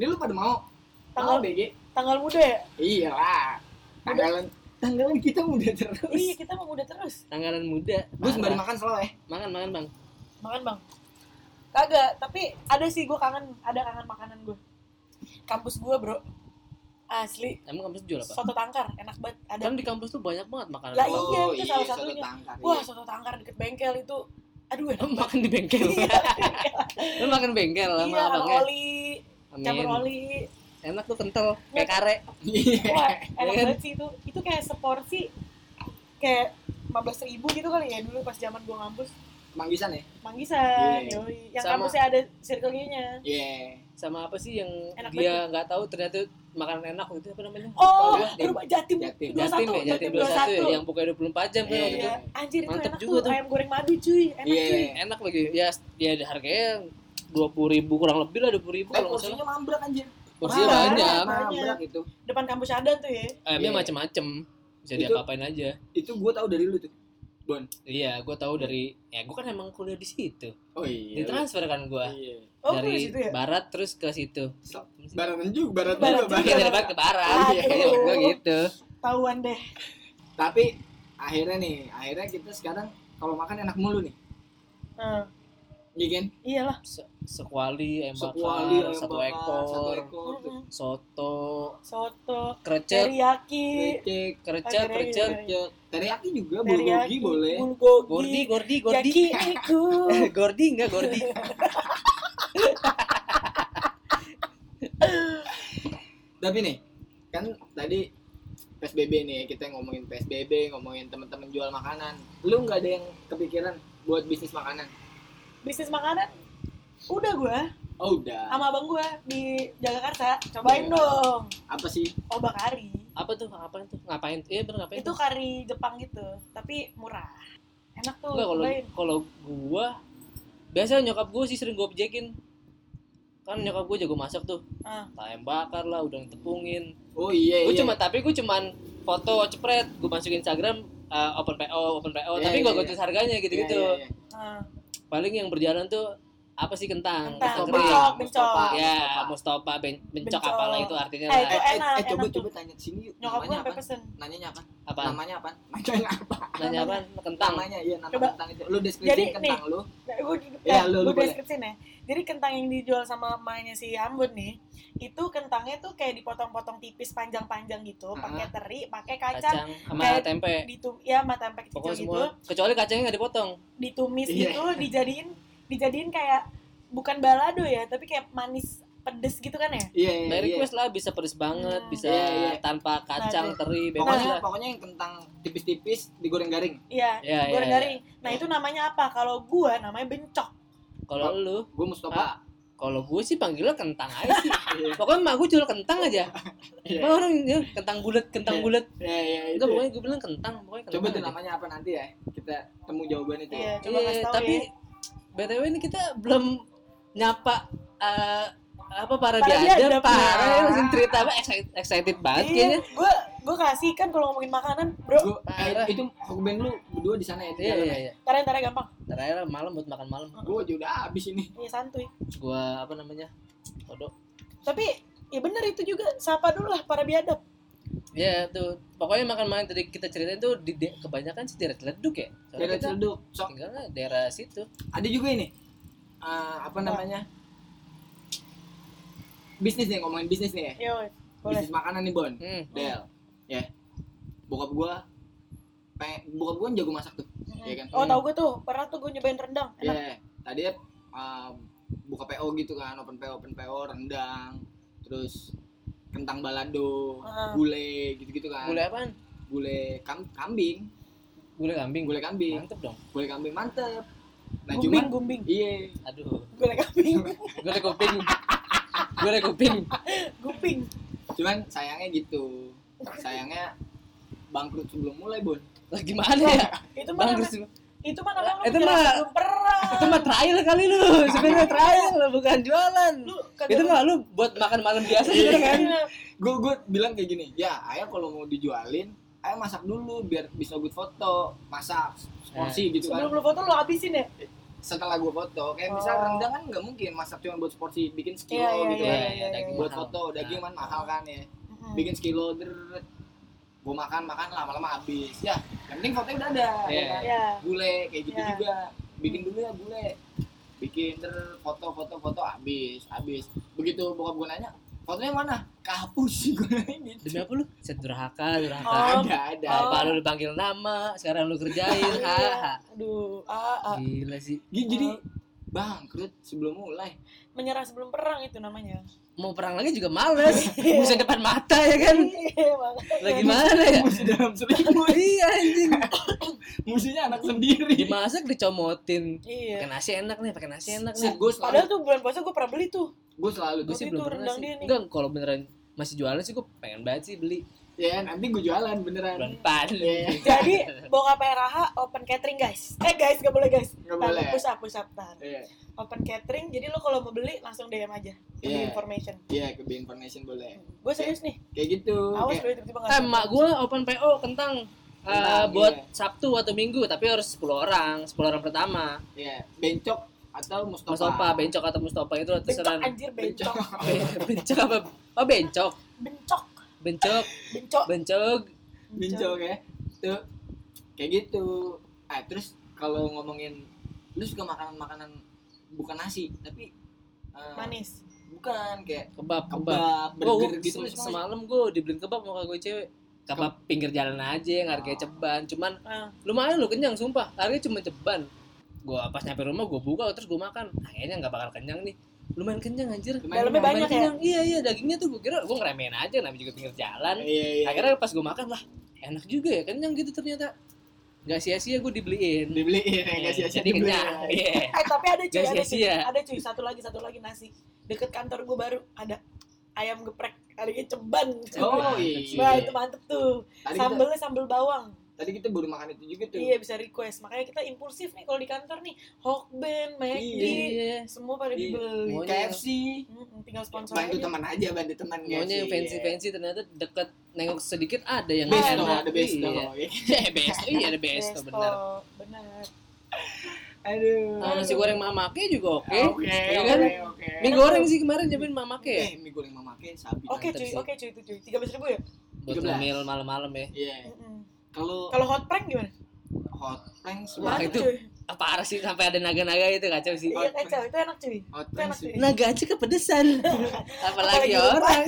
Speaker 2: Ini lu pada mau? Mau
Speaker 3: Tanggal
Speaker 2: BG?
Speaker 3: tanggal muda ya?
Speaker 2: Iya lah. Tanggalan tanggalan kita udah
Speaker 3: Iya,
Speaker 2: terus.
Speaker 3: kita mau muda terus.
Speaker 1: tanggalan muda.
Speaker 2: Gue sembari
Speaker 1: Parah.
Speaker 2: makan selalu
Speaker 3: Iya,
Speaker 2: ya.
Speaker 1: Makan, makan, Bang.
Speaker 3: Makan, Bang. Kagak, tapi ada sih gue kangen, ada kangen makanan gue. Kampus gue, Bro. Asli,
Speaker 1: Emang kampus jual apa?
Speaker 3: soto tangkar, enak banget. Ada
Speaker 1: Kan di kampus tuh banyak banget makanan.
Speaker 3: Lah, iya, itu salah
Speaker 2: soto
Speaker 3: satunya.
Speaker 2: Oh, tangkar, iya.
Speaker 3: Wah, soto tangkar deket bengkel itu. Aduh, enak
Speaker 1: Lu
Speaker 3: banget.
Speaker 1: makan di bengkel.
Speaker 3: Iya,
Speaker 1: Lu makan bengkel sama
Speaker 3: iya, sama
Speaker 1: abangnya.
Speaker 3: oli, campur oli.
Speaker 1: Enak tuh kental kayak kare.
Speaker 2: Iya.
Speaker 3: Wah, enak
Speaker 1: Iya.
Speaker 3: banget sih itu. Itu kayak seporsi kayak 15 ribu gitu kali ya dulu pas zaman gua ngampus.
Speaker 2: Manggisan ya?
Speaker 3: Manggisan,
Speaker 2: Iya.
Speaker 3: yoi. Yang
Speaker 1: Sama.
Speaker 3: kampusnya ada circle nya
Speaker 2: Iya.
Speaker 1: Sama apa sih yang
Speaker 3: Enak
Speaker 1: dia nggak tahu ternyata makanan enak itu apa namanya?
Speaker 3: Oh,
Speaker 1: Lupa gua.
Speaker 3: rumah Jatim.
Speaker 2: Jatim.
Speaker 1: Jatim
Speaker 3: 21,
Speaker 1: ya, Jatim 21 ya, yang buka 24 jam kan
Speaker 2: Iya,
Speaker 1: waktu itu.
Speaker 3: Iya. Anjir itu
Speaker 1: Mantep
Speaker 3: enak
Speaker 1: juga
Speaker 3: tuh.
Speaker 1: tuh.
Speaker 3: Ayam goreng madu cuy, enak
Speaker 2: Iya.
Speaker 3: cuy.
Speaker 1: Enak lagi. Ya ya harganya 20 ribu kurang lebih lah 20 ribu
Speaker 2: Eh,
Speaker 1: kalau nggak salah.
Speaker 2: porsinya mambrak anjir. gitu.
Speaker 1: Porsinya
Speaker 3: mahal.
Speaker 1: banyak.
Speaker 2: Mambrak itu.
Speaker 3: Depan kampus ada tuh ya.
Speaker 1: Ayamnya
Speaker 2: Iya.
Speaker 1: macem-macem. Bisa
Speaker 2: Itu-
Speaker 1: diapa-apain aja.
Speaker 2: Itu gue tahu dari lu tuh. Bon.
Speaker 1: Iya, gue tahu dari ya gue kan emang kuliah di situ.
Speaker 2: Oh iya.
Speaker 1: Ditransfer kan gue
Speaker 2: Iya.
Speaker 3: Oh, dari
Speaker 1: dari
Speaker 3: situ ya.
Speaker 1: barat terus ke situ.
Speaker 2: So- Baratan juga, Oh, barat
Speaker 3: Barat
Speaker 2: juga,
Speaker 3: juga.
Speaker 1: Iya
Speaker 2: barat.
Speaker 1: dari barat ke barat.
Speaker 3: Aduh.
Speaker 1: Kayak gue gitu.
Speaker 3: Tahuan deh.
Speaker 2: Tapi akhirnya nih, akhirnya kita sekarang kalau makan enak mulu nih.
Speaker 3: Nah,
Speaker 2: Iya kan?
Speaker 3: iyalah.
Speaker 1: Se- Sekuali, ayam
Speaker 2: Sekuali,
Speaker 1: bakar,
Speaker 2: ayam
Speaker 1: satu
Speaker 2: bakar, satu
Speaker 1: ekor,
Speaker 2: ekor. Oh, tuh.
Speaker 3: Mm-mm.
Speaker 1: soto,
Speaker 3: Soto,
Speaker 1: krecek,
Speaker 3: teriyaki,
Speaker 2: Krecek,
Speaker 1: krecek,
Speaker 3: Ada
Speaker 1: krecek,
Speaker 3: yang-
Speaker 2: krecek. Teriyaki juga, bulgogi
Speaker 3: teriyaki,
Speaker 2: boleh.
Speaker 3: bulgogi,
Speaker 1: ya. gordi, gordi, gordi.
Speaker 3: yakiniku.
Speaker 1: Eh, gordi enggak gordi.
Speaker 2: Tapi nih, kan tadi PSBB nih kita ngomongin PSBB, ngomongin teman-teman jual makanan. Lu nggak ada yang kepikiran buat bisnis makanan?
Speaker 3: Bisnis makanan udah gua
Speaker 2: Oh udah.
Speaker 3: sama abang gua di Jagakarsa cobain
Speaker 2: Iya.
Speaker 3: dong
Speaker 2: Apa sih?
Speaker 3: obat kari
Speaker 1: Apa tuh? Apa tuh? Ngapain? Iya bener ngapain?
Speaker 3: itu kari Jepang gitu tapi murah enak tuh
Speaker 1: Enggak kalau
Speaker 3: cobain
Speaker 1: kalau gua biasa nyokap gua sih sering gua objekin. Kan nyokap gua jago masak tuh.
Speaker 3: Ah.
Speaker 1: Ayam bakar lah, udang tepungin.
Speaker 2: Oh iya
Speaker 1: Gua
Speaker 2: iya.
Speaker 1: cuma tapi gua cuman foto cepret, gua masukin Instagram eh, open PO, open PO,
Speaker 2: Iya,
Speaker 1: tapi
Speaker 2: iya,
Speaker 1: gua
Speaker 2: iya.
Speaker 1: gak tulis harganya gitu-gitu.
Speaker 2: Iya, iya, iya.
Speaker 3: Ah,
Speaker 1: Paling yang berjalan tuh apa sih kentang?
Speaker 3: Kentang,
Speaker 1: kering.
Speaker 3: bencok, bencok.
Speaker 2: Mustafa,
Speaker 1: Ya,
Speaker 2: Mustafa.
Speaker 1: Mustafa, ben- bencok,
Speaker 3: Bencok.
Speaker 1: apalah itu artinya
Speaker 3: Eh,
Speaker 1: lah.
Speaker 3: itu
Speaker 2: Eh, eh,
Speaker 3: enak,
Speaker 2: eh, coba
Speaker 3: enak tuh.
Speaker 2: coba tanya ke sini yuk.
Speaker 3: nyokap gua
Speaker 2: Namanya
Speaker 3: sampai
Speaker 2: apa?
Speaker 3: pesen
Speaker 2: Nanyanya apa?
Speaker 1: Apa?
Speaker 2: Namanya apa? Namanya apa?
Speaker 1: Nanya apa? Kentang.
Speaker 2: Namanya iya nama
Speaker 3: Coba.
Speaker 2: kentang itu. Lu deskripsi
Speaker 3: Jadi,
Speaker 2: kentang lu.
Speaker 3: Nah, gue
Speaker 2: Iya,
Speaker 3: ya,
Speaker 2: lu- lu
Speaker 3: gue
Speaker 2: boleh.
Speaker 3: deskripsiin ya. Jadi kentang yang dijual sama mamanya si Ambon nih, itu kentangnya tuh kayak dipotong-potong tipis panjang-panjang gitu,
Speaker 2: Ah.
Speaker 3: pakai teri, pakai kacang,
Speaker 1: Kacang sama
Speaker 3: kayak-
Speaker 1: tempe.
Speaker 3: ditum ya sama tempe kecil
Speaker 1: Pokoknya
Speaker 3: gitu,
Speaker 1: semua kecuali kacangnya nggak dipotong.
Speaker 3: ditumis
Speaker 2: Iya.
Speaker 3: gitu, dijadiin dijadiin kayak bukan balado ya, tapi kayak manis pedes gitu kan ya.
Speaker 2: Iya iya.
Speaker 1: By
Speaker 2: iya.
Speaker 1: request lah bisa pedes banget,
Speaker 3: Hmm.
Speaker 1: bisa
Speaker 2: Iya, iya.
Speaker 1: tanpa kacang,
Speaker 3: Nah,
Speaker 1: teri, bebas
Speaker 2: Pokoknya
Speaker 1: lah.
Speaker 2: pokoknya yang kentang tipis-tipis digoreng garing.
Speaker 3: Iya,
Speaker 1: Ya, ya,
Speaker 3: goreng
Speaker 1: ya.
Speaker 3: garing. Nah, itu namanya apa? Kalau gua namanya bencok. gitu
Speaker 1: Kalau lu,
Speaker 2: Gue Mustafa.
Speaker 1: kalau gue sih panggilnya kentang aja sih.
Speaker 3: Ah.
Speaker 2: Iya.
Speaker 1: Pokoknya emak gue jual kentang aja.
Speaker 2: Iya.
Speaker 1: Emang orang ya, kentang bulat, kentang
Speaker 2: Iya.
Speaker 1: bulat.
Speaker 2: Iya iya
Speaker 1: Enggak,
Speaker 2: itu.
Speaker 1: pokoknya gue bilang kentang, pokoknya kentang.
Speaker 2: Coba tuh
Speaker 1: aja.
Speaker 2: namanya apa nanti ya? Kita temu jawabannya tuh.
Speaker 3: Iya, coba
Speaker 1: Iya,
Speaker 3: kasih tahu
Speaker 1: tapi
Speaker 3: ya.
Speaker 1: BTW ini kita belum nyapa eh, apa para
Speaker 3: Para
Speaker 1: diajar,
Speaker 3: diadep.
Speaker 1: parah ya, langsung cerita apa excited, excited banget
Speaker 3: Iya,
Speaker 1: kayaknya.
Speaker 3: gua gua kasih kan kalau ngomongin makanan, Bro.
Speaker 2: Gua, eh,
Speaker 1: Parah.
Speaker 2: itu Hokben lu berdua di sana ya? di
Speaker 1: Iya,
Speaker 2: dalam
Speaker 1: iya,
Speaker 2: ya?
Speaker 1: iya.
Speaker 3: Tarik-tarik gampang.
Speaker 1: Ntar aja lah malam buat makan malam
Speaker 2: Gue aja udah habis ini.
Speaker 3: Iya santuy.
Speaker 1: gua apa namanya kodok
Speaker 3: Tapi ya bener itu juga sapa dulu lah para biadab.
Speaker 1: ya tuh pokoknya makan malam tadi kita ceritain tuh di de- kebanyakan sih daerah Ciledug ya soalnya
Speaker 2: Daerah
Speaker 1: kita
Speaker 2: celduk. So,
Speaker 1: tinggalnya daerah situ
Speaker 2: ada juga ini. Eh, apa namanya? Bisnis nih, ngomongin bisnis nih ya.
Speaker 3: Yo, boleh.
Speaker 2: Bisnis makanan nih, Bon.
Speaker 1: hmm.
Speaker 2: Del. Ya. Bokap gua pengen bokap gua kan jago masak tuh. Iya kan?
Speaker 3: Oh tau gue tuh pernah tuh gue nyobain rendang.
Speaker 2: Iya,
Speaker 3: Enak.
Speaker 2: tadi uh, buka PO gitu kan, open PO, open PO, rendang, terus kentang balado,
Speaker 3: Ah.
Speaker 2: gulai gitu-gitu kan.
Speaker 1: gulai apaan
Speaker 2: Gulai kam- kambing,
Speaker 1: gulai kambing
Speaker 2: gulai kambing,
Speaker 1: mantep dong
Speaker 2: gulai kambing mantep. Nah, cuman
Speaker 3: gumbing gumbing.
Speaker 2: iya,
Speaker 1: aduh
Speaker 3: Gulai kambing.
Speaker 1: gulai kuping gulai kuping
Speaker 3: Guping.
Speaker 2: cuman sayangnya gitu. Sayangnya bangkrut sebelum mulai, Bon.
Speaker 1: lah gimana ya
Speaker 3: Itu mah
Speaker 1: bagus
Speaker 3: namanya- itu mah namanya lu
Speaker 1: Itu
Speaker 3: bicara
Speaker 1: mah-
Speaker 3: sebelum perang.
Speaker 1: itu mah trial kali lu sebenarnya trial bukan jualan
Speaker 3: Lu
Speaker 1: itu mah lu buat makan malam biasa sebenarnya kan
Speaker 3: Iya.
Speaker 2: Gue gue bilang kayak gini, ya ayah kalau mau dijualin, ayah masak dulu biar bisa good foto, masak porsi gitu kan.
Speaker 3: Eh, Sebelum lu foto lu habisin ya.
Speaker 2: setelah gue foto kayak
Speaker 3: Oh.
Speaker 2: misal rendang kan nggak mungkin masak cuma buat porsi bikin sekilo
Speaker 3: Iya, iya,
Speaker 2: gitu
Speaker 3: iya,
Speaker 2: kan
Speaker 3: iya,
Speaker 1: daging
Speaker 2: buat
Speaker 1: mahal.
Speaker 2: foto daging kan
Speaker 1: Nah.
Speaker 2: mahal kan ya bikin sekilo deret gue makan makan lama-lama habis ya yang penting fotonya udah ada
Speaker 1: Iya.
Speaker 2: ya kan?
Speaker 3: Ya.
Speaker 2: gule kayak gitu
Speaker 3: Iya.
Speaker 2: juga bikin dulu ya gule bikin deret foto foto foto habis habis begitu bokap gue nanya fotonya mana kehapus sih gue nanya
Speaker 1: demi
Speaker 2: gitu
Speaker 1: apa lu set durhaka durhaka
Speaker 3: Oh.
Speaker 2: ada ada
Speaker 1: apa
Speaker 2: ada.
Speaker 1: lu dipanggil nama sekarang lu kerjain haha
Speaker 3: Iya. Aduh, ah, ah.
Speaker 1: gila sih
Speaker 2: Gi- jadi Oh. bangkrut sebelum mulai
Speaker 3: menyerah sebelum perang itu namanya.
Speaker 1: mau perang lagi juga males musuh depan mata ya kan
Speaker 3: Iya, makanya.
Speaker 1: lagi mana ya
Speaker 2: musuh dalam selimut
Speaker 1: iya anjing
Speaker 2: musuhnya anak sendiri
Speaker 1: dimasak dicomotin
Speaker 3: Iya.
Speaker 1: pakai nasi enak nih pakai nasi enak nih
Speaker 2: gue selalu
Speaker 3: Padahal tuh bulan puasa gue pernah beli tuh.
Speaker 2: gue selalu
Speaker 1: gue
Speaker 2: tuh
Speaker 1: sih
Speaker 3: Tapi
Speaker 1: belum
Speaker 3: itu
Speaker 1: pernah
Speaker 3: rendang
Speaker 1: sih
Speaker 3: dia nih.
Speaker 1: enggak kalau beneran masih jualan sih gue pengen banget sih beli
Speaker 2: ya nanti gue jualan
Speaker 1: bulan
Speaker 2: beneran
Speaker 1: depan
Speaker 2: Iya.
Speaker 3: Jadi bokap Raha open catering guys. Eh guys, gak boleh guys.
Speaker 2: nggak
Speaker 3: Tahan,
Speaker 2: boleh
Speaker 3: push up, push up, tahan.
Speaker 2: iya
Speaker 3: Open catering, jadi lo kalau mau beli langsung DM aja.
Speaker 2: Iya.
Speaker 3: Beli information.
Speaker 2: iya ke B information boleh
Speaker 3: Gue serius nih,
Speaker 2: kayak gitu
Speaker 3: awas
Speaker 2: kayak,
Speaker 3: beli tiba-tiba
Speaker 1: eh
Speaker 3: nggak.
Speaker 1: mak gue open PO kentang eh,
Speaker 2: Kentang,
Speaker 1: buat
Speaker 2: iya.
Speaker 1: Sabtu atau Minggu tapi harus 10 orang 10 orang pertama
Speaker 2: iya bencok atau mustofa
Speaker 1: Mustafa bencok atau Mustafa itu
Speaker 3: Bencok
Speaker 1: terserah
Speaker 3: anjir, bencok.
Speaker 1: bencok apa oh bencok
Speaker 3: Bencok,
Speaker 1: bencok
Speaker 3: bencok.
Speaker 1: bencok
Speaker 2: bencok ya tuh kayak gitu ah terus kalau ngomongin lu suka makanan makanan bukan nasi tapi eh,
Speaker 3: Manis.
Speaker 2: bukan kayak
Speaker 1: kebab kebab
Speaker 2: kebab
Speaker 1: Oh, Gua
Speaker 2: burger gitu
Speaker 1: sem-
Speaker 2: semua
Speaker 1: semalam gue dibeliin kebab sama gue cewek kebab pinggir jalan aja yang
Speaker 2: Oh.
Speaker 1: harganya ceban cuman
Speaker 3: Ah.
Speaker 1: lumayan lu kenyang sumpah harganya cuma ceban gue pas nyampe rumah gue buka terus gue makan Ah, kayaknya nggak bakal kenyang nih lumayan kenyang anjir
Speaker 2: Lumayan
Speaker 3: Dalamnya
Speaker 1: Lumayan
Speaker 3: banyak ya.
Speaker 1: kenyang. iya iya dagingnya tuh gue kira gue ngeremehin aja namanya juga pinggir jalan
Speaker 2: iya iya
Speaker 1: akhirnya pas gue makan lah enak juga ya kenyang gitu ternyata nggak sia-sia gue dibeliin
Speaker 2: dibeliin ya nggak sia-sia
Speaker 1: jadi
Speaker 2: dibeliin.
Speaker 1: kenyang iya
Speaker 3: Eh tapi ada cuy,
Speaker 1: Guys,
Speaker 3: ada
Speaker 1: guys,
Speaker 3: cuy,
Speaker 1: iya.
Speaker 3: ada cuy. Satu lagi, satu lagi nasi. Deket kantor gue baru ada ayam geprek, ada ceban.
Speaker 1: Nah,
Speaker 2: oh
Speaker 3: Wah
Speaker 2: iya
Speaker 3: itu mantep tuh.
Speaker 2: tadi kita,
Speaker 3: Sambelnya sambel bawang.
Speaker 2: tadi kita baru makan itu juga tuh
Speaker 3: Iya bisa request. Makanya kita impulsif nih kalau di kantor nih. Hokben, McD,
Speaker 1: Iya.
Speaker 3: semua pada
Speaker 2: Iya.
Speaker 3: dibeli.
Speaker 1: Maunya-
Speaker 2: KFC
Speaker 3: Mm, tinggal sponsor
Speaker 2: bantu
Speaker 3: aja.
Speaker 2: teman aja bantu teman Iya.
Speaker 1: maunya yang fancy fancy ternyata deket nengok sedikit ada yang
Speaker 2: besto
Speaker 1: enak.
Speaker 2: ada besto
Speaker 1: Iya. Eh, besto iya ada besto
Speaker 3: Resto,
Speaker 1: benar
Speaker 3: benar.
Speaker 2: aduh
Speaker 1: Nah, nasi goreng mamake juga oke
Speaker 2: Ah, oke
Speaker 1: Iya
Speaker 2: oke
Speaker 1: kan?
Speaker 2: oke
Speaker 1: mie goreng sih kemarin nyobain mamake ya
Speaker 2: eh mie goreng mamake sabi
Speaker 3: Oke
Speaker 1: Mantep
Speaker 3: cuy,
Speaker 1: sih.
Speaker 3: oke cuy itu cuy. Tiga belas ribu ya.
Speaker 1: buat
Speaker 2: 13.
Speaker 1: ngemil malam-malam ya
Speaker 2: iya
Speaker 3: Mm-mm.
Speaker 2: kalau
Speaker 3: Kalau hot prank gimana?
Speaker 2: hot prank
Speaker 1: Wah,
Speaker 2: sebenarnya
Speaker 3: Mantep,
Speaker 1: itu-
Speaker 3: cuy.
Speaker 1: apa arah sih sampai ada naga-naga itu kacau sih
Speaker 3: Iya kacau, itu enak cuy.
Speaker 2: hot
Speaker 3: Itu
Speaker 2: prank
Speaker 3: enak
Speaker 2: sih
Speaker 3: cuy.
Speaker 1: naga aja kepedesan apalagi ya.
Speaker 3: lupa.
Speaker 1: orang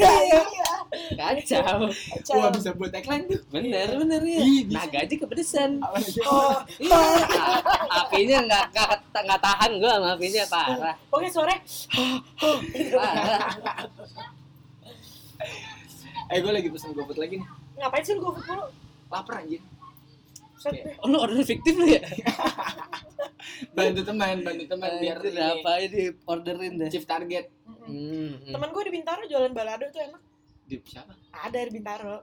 Speaker 3: Iya,
Speaker 1: kacau
Speaker 3: kacau.
Speaker 2: wah bisa buat tagline tuh Gitu.
Speaker 1: bener bener ya
Speaker 2: Ih, bisa.
Speaker 1: naga aja kepedesan
Speaker 2: Apa lagi?
Speaker 3: Oh,
Speaker 1: Iya, a- apinya nggak nggak ket- nggak tahan gue sama apinya parah,
Speaker 3: Oke sore.
Speaker 1: parah.
Speaker 2: eh gue lagi pesen GoFood lagi nih
Speaker 3: Ngapain sih lu gue mulu?
Speaker 2: lapar anjir
Speaker 3: Set
Speaker 2: Oke.
Speaker 3: deh.
Speaker 1: Oh, lu order fiktif lu ya?
Speaker 2: bantu teman bantu teman biar
Speaker 1: Anjir,
Speaker 2: ini
Speaker 1: apa ini orderin deh?
Speaker 2: chief target
Speaker 3: Mm-mm.
Speaker 1: Hmm, hmm.
Speaker 3: Temen gue di Bintaro jualan balado tuh enak.
Speaker 2: di siapa
Speaker 3: Ada di Bintaro.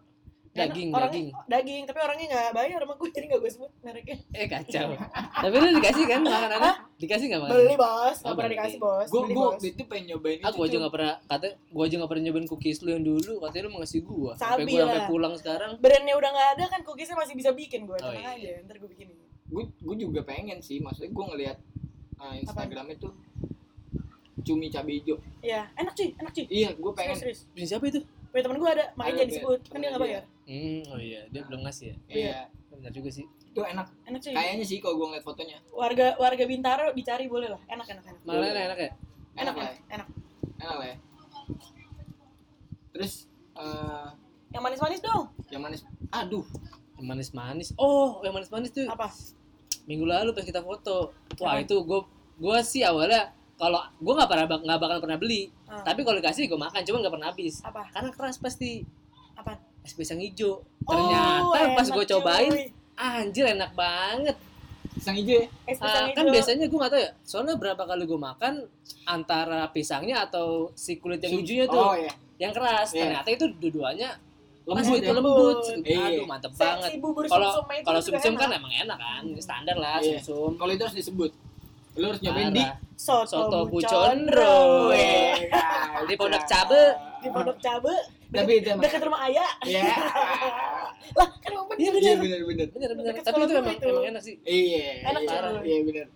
Speaker 1: Daging,
Speaker 3: Enak,
Speaker 1: daging.
Speaker 3: orangnya- Daging, tapi orangnya nggak bayar sama gue jadi nggak gue sebut mereknya.
Speaker 1: Eh kacau. Tapi lu dikasih kan makanannya?
Speaker 3: Hah?
Speaker 1: Dikasih nggak
Speaker 3: Beli
Speaker 1: makanannya?
Speaker 3: bos,
Speaker 1: Oh,
Speaker 3: nggak pernah
Speaker 1: beli.
Speaker 3: dikasih bos.
Speaker 2: gue
Speaker 3: Beli,
Speaker 2: gue
Speaker 3: bos.
Speaker 2: itu pengen nyobain
Speaker 1: Ah,
Speaker 2: itu
Speaker 1: gua aja
Speaker 2: tuh.
Speaker 1: nggak pernah kata, gua aja nggak pernah nyobain cookies lu yang dulu. Katanya lu mau ngasih gua. Sampai
Speaker 3: Sabi
Speaker 1: gua sampai
Speaker 3: lah.
Speaker 1: pulang sekarang.
Speaker 3: brandnya udah nggak ada kan cookiesnya masih bisa bikin gue
Speaker 1: Oh,
Speaker 3: tenang
Speaker 1: iya.
Speaker 3: aja ntar gue bikinin
Speaker 2: gue gue juga pengen sih maksudnya gue ngelihat uh, Instagram itu cumi cabai hijau
Speaker 3: Iya, enak cuy, enak cuy.
Speaker 2: iya gue pengen
Speaker 3: Serius, serius.
Speaker 1: Punya siapa itu?
Speaker 3: Punya temen gue ada,
Speaker 2: Ada,
Speaker 3: makanya jangan
Speaker 2: Bel.
Speaker 3: disebut. Kan dia nggak
Speaker 2: Iya.
Speaker 3: bayar.
Speaker 1: Hmm, oh iya, dia belum ngasih ya.
Speaker 2: iya
Speaker 1: Benar juga sih.
Speaker 2: itu enak
Speaker 3: Enak cuy.
Speaker 2: kayaknya sih kalau gue ngeliat fotonya
Speaker 3: Warga warga Bintaro dicari boleh lah. Enak, enak, enak.
Speaker 1: Malah enak, enak ya.
Speaker 3: Enak,
Speaker 2: enak lah
Speaker 3: enak, enak.
Speaker 2: enak lah ya terus eh
Speaker 3: Yang manis-manis dong.
Speaker 2: yang manis aduh
Speaker 1: Yang manis-manis. Oh, yang manis-manis tuh
Speaker 3: Apa?
Speaker 1: minggu lalu pas kita foto. Wah,
Speaker 3: Kenapa?
Speaker 1: itu gue gue sih awalnya kalau gue nggak pernah bak- nggak bakal pernah beli,
Speaker 3: Ah,
Speaker 1: tapi kalau dikasih gue makan, cuma nggak pernah habis.
Speaker 3: apa?
Speaker 1: Karena keras pasti.
Speaker 3: Apa?
Speaker 1: Es pisang hijau.
Speaker 3: Oh,
Speaker 1: Ternyata pas
Speaker 3: enak,
Speaker 1: gue cobain,
Speaker 3: cuy.
Speaker 1: anjir enak banget.
Speaker 2: pisang hijau ya
Speaker 3: es pisang
Speaker 1: Ah,
Speaker 3: hijau.
Speaker 1: kan biasanya gue nggak tahu ya. Soalnya berapa kali gue makan antara pisangnya atau si kulit yang hijaunya tuh
Speaker 2: oh iya
Speaker 1: yang keras.
Speaker 2: Iya.
Speaker 1: Ternyata itu dua-duanya
Speaker 2: lembut
Speaker 1: lembut,
Speaker 2: ya
Speaker 1: lembut.
Speaker 2: Iya.
Speaker 1: Aduh, mantep
Speaker 3: Se-
Speaker 1: banget.
Speaker 3: Si bubur
Speaker 1: Kalau
Speaker 3: sumsumnya itu
Speaker 1: kalau
Speaker 3: juga
Speaker 1: sumsum kan
Speaker 3: enak. Hmm. Ya,
Speaker 1: emang enak kan, standar lah
Speaker 2: Iya.
Speaker 1: sumsum.
Speaker 2: kalau itu harus disebut lu harus nyobain di
Speaker 1: Parah.
Speaker 3: soto,
Speaker 1: Soto
Speaker 3: bucondro.
Speaker 1: Bucondro.
Speaker 3: Weh.
Speaker 2: Weh, kan. guys.
Speaker 1: Di Pondok Cabe.
Speaker 3: Iya, Di pondok cabe
Speaker 2: tapi itu emang-
Speaker 3: dekat rumah ayah.
Speaker 2: Iya.
Speaker 3: Lah, kan emang
Speaker 1: Iya
Speaker 3: bener.
Speaker 2: iya
Speaker 1: bener,
Speaker 2: benar benar
Speaker 1: bener bener.
Speaker 3: Deket
Speaker 1: Tapi
Speaker 3: sekolah
Speaker 1: itu
Speaker 3: gue
Speaker 1: emang
Speaker 3: itu.
Speaker 1: emang enak sih.
Speaker 2: iya
Speaker 3: Enak
Speaker 2: iya.
Speaker 1: cara.
Speaker 2: iya benar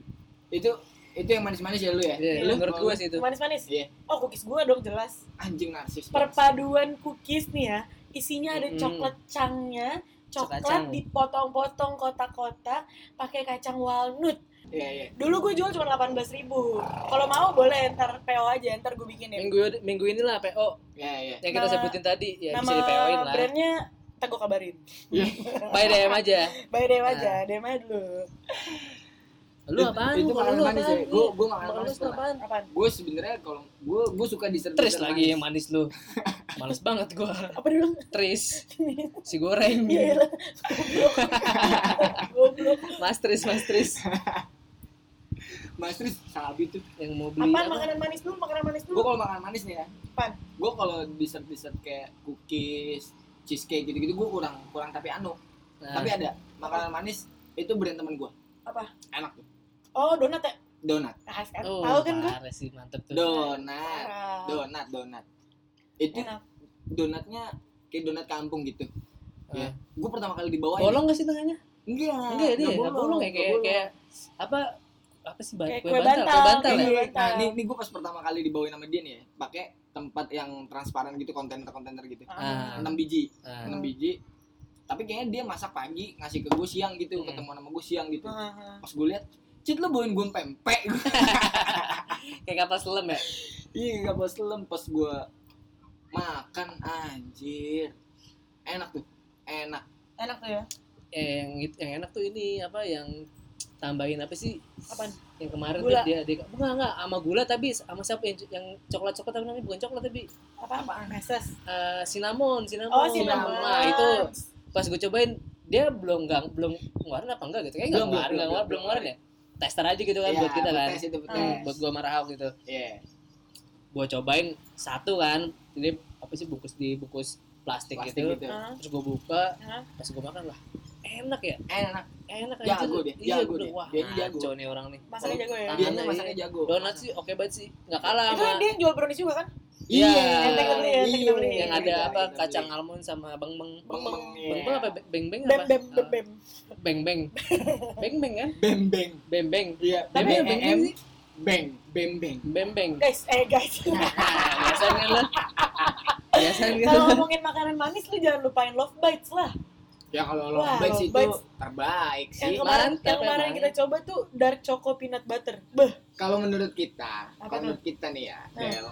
Speaker 2: itu itu yang manis manis ya lu ya
Speaker 1: Iya,
Speaker 2: Lu
Speaker 1: menurut gue
Speaker 2: kalau-
Speaker 1: sih itu.
Speaker 3: Manis-manis.
Speaker 2: Iya.
Speaker 3: Oh, cookies gue dong jelas.
Speaker 2: anjing narsis
Speaker 3: Perpaduan cookies nih ya. Isinya ada
Speaker 1: Mm-mm.
Speaker 3: coklat cangnya,
Speaker 1: Cokacang.
Speaker 3: coklat dipotong-potong kotak-kotak pakai kacang walnut.
Speaker 2: iya iya
Speaker 3: Dulu gue jual cuma 18.000 ribu. Kalau mau boleh ntar PO aja, ntar ya. gue bikinin.
Speaker 1: Minggu minggu inilah PO
Speaker 2: iya iya
Speaker 1: yang kita
Speaker 3: Nama-
Speaker 1: sebutin tadi ya bisa
Speaker 3: Nama
Speaker 1: di PO-in lah.
Speaker 3: brandnya ntar gue kabarin.
Speaker 1: By DM aja.
Speaker 3: By DM
Speaker 1: Ah.
Speaker 3: aja, DM aja dulu.
Speaker 1: Lu apaan?
Speaker 2: itu
Speaker 1: Lu kalau
Speaker 2: makanan
Speaker 1: lu
Speaker 2: manis ya
Speaker 1: apaan?
Speaker 2: gue gue makanan
Speaker 1: Kalau lu
Speaker 2: manis
Speaker 1: suka apaan?
Speaker 3: Apaan?
Speaker 2: gue sebenarnya kalau gue gue suka dessert
Speaker 1: Tris
Speaker 2: dessert
Speaker 1: lagi yang
Speaker 2: manis.
Speaker 1: manis lu. Males banget gua.
Speaker 3: Apa dulu?
Speaker 1: Tris, si goreng.
Speaker 3: Iya iya lah. Goblok. Goblok.
Speaker 1: Mas Tris, Mas Tris
Speaker 2: mas Tris sabi tuh
Speaker 1: yang mau beli.
Speaker 3: Apaan
Speaker 1: apa?
Speaker 3: makanan manis dulu? Makanan manis
Speaker 2: gue
Speaker 3: dulu.
Speaker 2: kalau makanan manis nih ya
Speaker 3: Apaan?
Speaker 2: gue kalau dessert dessert kayak cookies cheesecake gitu gitu gue kurang kurang tapi anu
Speaker 1: Nah,
Speaker 2: tapi ada makanan manis itu brand temen gue
Speaker 3: Apa?
Speaker 2: enak tuh
Speaker 3: Oh, donat ya?
Speaker 2: donat
Speaker 3: Nah, kan.
Speaker 1: oh,
Speaker 3: Tahu kan gue?
Speaker 1: parah sih mantep tuh.
Speaker 2: donat
Speaker 3: Ah,
Speaker 2: donat donat itu
Speaker 3: Enak.
Speaker 2: donatnya kayak donat kampung gitu
Speaker 1: Ah.
Speaker 3: iya.
Speaker 2: gue pertama kali dibawa
Speaker 1: Bolong gak sih tengahnya?
Speaker 2: enggak
Speaker 1: Enggak ya, dia
Speaker 2: nggak
Speaker 1: ya? Nggak bolong ya
Speaker 2: nggak
Speaker 1: kayak
Speaker 2: bolong.
Speaker 1: kayak apa apa sih ba-
Speaker 3: Kayak
Speaker 1: kue
Speaker 3: kue
Speaker 1: bantal,
Speaker 3: bantal,
Speaker 1: kue bantal ya?
Speaker 2: Iya,
Speaker 3: kayak gitu.
Speaker 2: nah
Speaker 3: Bantal.
Speaker 2: ini, ini gue pas pertama kali dibawain sama dia nih ya pakai tempat yang transparan gitu kontainer-kontainer gitu
Speaker 1: Ah.
Speaker 2: enam biji
Speaker 1: Ah.
Speaker 2: enam biji tapi kayaknya dia masak pagi ngasih ke gue siang gitu
Speaker 1: Hmm.
Speaker 2: ketemu sama gue siang gitu
Speaker 3: Ah, ah.
Speaker 2: pas gue lihat Cit lu bawain gue pempek
Speaker 1: Kayak kapal selam ya?
Speaker 2: Iya gak bos lem pas gue makan anjir Enak tuh Enak
Speaker 3: Enak tuh ya.
Speaker 1: Eh, yang itu- yang enak tuh ini apa yang tambahin apa sih
Speaker 3: Apaan?
Speaker 1: yang kemarin
Speaker 3: Gula.
Speaker 1: tuh dia dia enggak enggak sama gula tapi sama siapa yang, yang coklat coklat tapi namanya bukan coklat tapi
Speaker 3: Apa apaan? Meses.
Speaker 1: eh, cinnamon cinnamon
Speaker 3: Oh, si
Speaker 2: cinnamon.
Speaker 1: nah itu pas gue cobain dia belum gang belum ngeluarin apa enggak gitu kayaknya
Speaker 2: Belum,
Speaker 1: nggak ngeluarin
Speaker 2: belum,
Speaker 1: nggak ngeluarin
Speaker 2: belum,
Speaker 1: belum ngeluarin ya tester aja gitu kan
Speaker 2: Iya,
Speaker 1: buat kita kan
Speaker 2: Betes itu betes
Speaker 1: Hmm, buat gua sama Rahel gitu
Speaker 2: Iya
Speaker 1: gue cobain satu kan jadi apa sih bungkus di bungkus plastik,
Speaker 2: Plastik
Speaker 1: gitu.
Speaker 2: gitu
Speaker 3: Ah,
Speaker 1: terus gue buka
Speaker 3: Hah?
Speaker 1: pas gue makan lah enak ya
Speaker 2: Enak
Speaker 1: enak aja
Speaker 2: Jago dia,
Speaker 1: iya
Speaker 2: jago
Speaker 1: gue
Speaker 2: dia.
Speaker 1: wah
Speaker 2: Dia ini jago.
Speaker 1: ngaco nih orang nih
Speaker 3: Masaknya jago ya.
Speaker 1: Tangan.
Speaker 2: Dia
Speaker 1: Iya.
Speaker 2: masaknya jago
Speaker 1: donat sih oke banget sih nggak kalah
Speaker 3: Itu
Speaker 1: sama
Speaker 3: dia yang jual brownies juga kan?
Speaker 1: Iya.
Speaker 3: Enteng beli, enteng
Speaker 2: Iya,
Speaker 3: beli.
Speaker 1: yang ya. ada
Speaker 2: iya,
Speaker 1: apa
Speaker 2: iya,
Speaker 1: kacang
Speaker 2: iya.
Speaker 1: almond sama beng beng
Speaker 2: Beng beng Iya.
Speaker 1: beng beng apa beng beng
Speaker 3: Iya. Bem
Speaker 1: apa
Speaker 3: bem bem bem.
Speaker 1: Ah, beng beng beng beng kan
Speaker 2: Beng beng
Speaker 1: bem beng
Speaker 2: Iya
Speaker 1: tapi
Speaker 2: BBM,
Speaker 1: beng beng sih
Speaker 2: Beng Bem beng
Speaker 1: bem beng
Speaker 3: Guys, eh guys.
Speaker 1: Nah, biasanya lo biasanya
Speaker 3: Kalau ngomongin makanan manis lu jangan lupain love bites lah.
Speaker 2: Ya kalau lo
Speaker 3: Wah,
Speaker 2: baik sih
Speaker 3: love
Speaker 2: itu terbaik
Speaker 3: Yang
Speaker 2: sih
Speaker 3: kemarin
Speaker 1: mantap
Speaker 3: yang kemarin
Speaker 1: emang.
Speaker 3: kita coba tuh dark choco peanut butter. Beh,
Speaker 2: Kalau menurut kita Kalau
Speaker 3: Apa tuh?
Speaker 2: menurut kita nih ya
Speaker 3: Nah.
Speaker 2: Del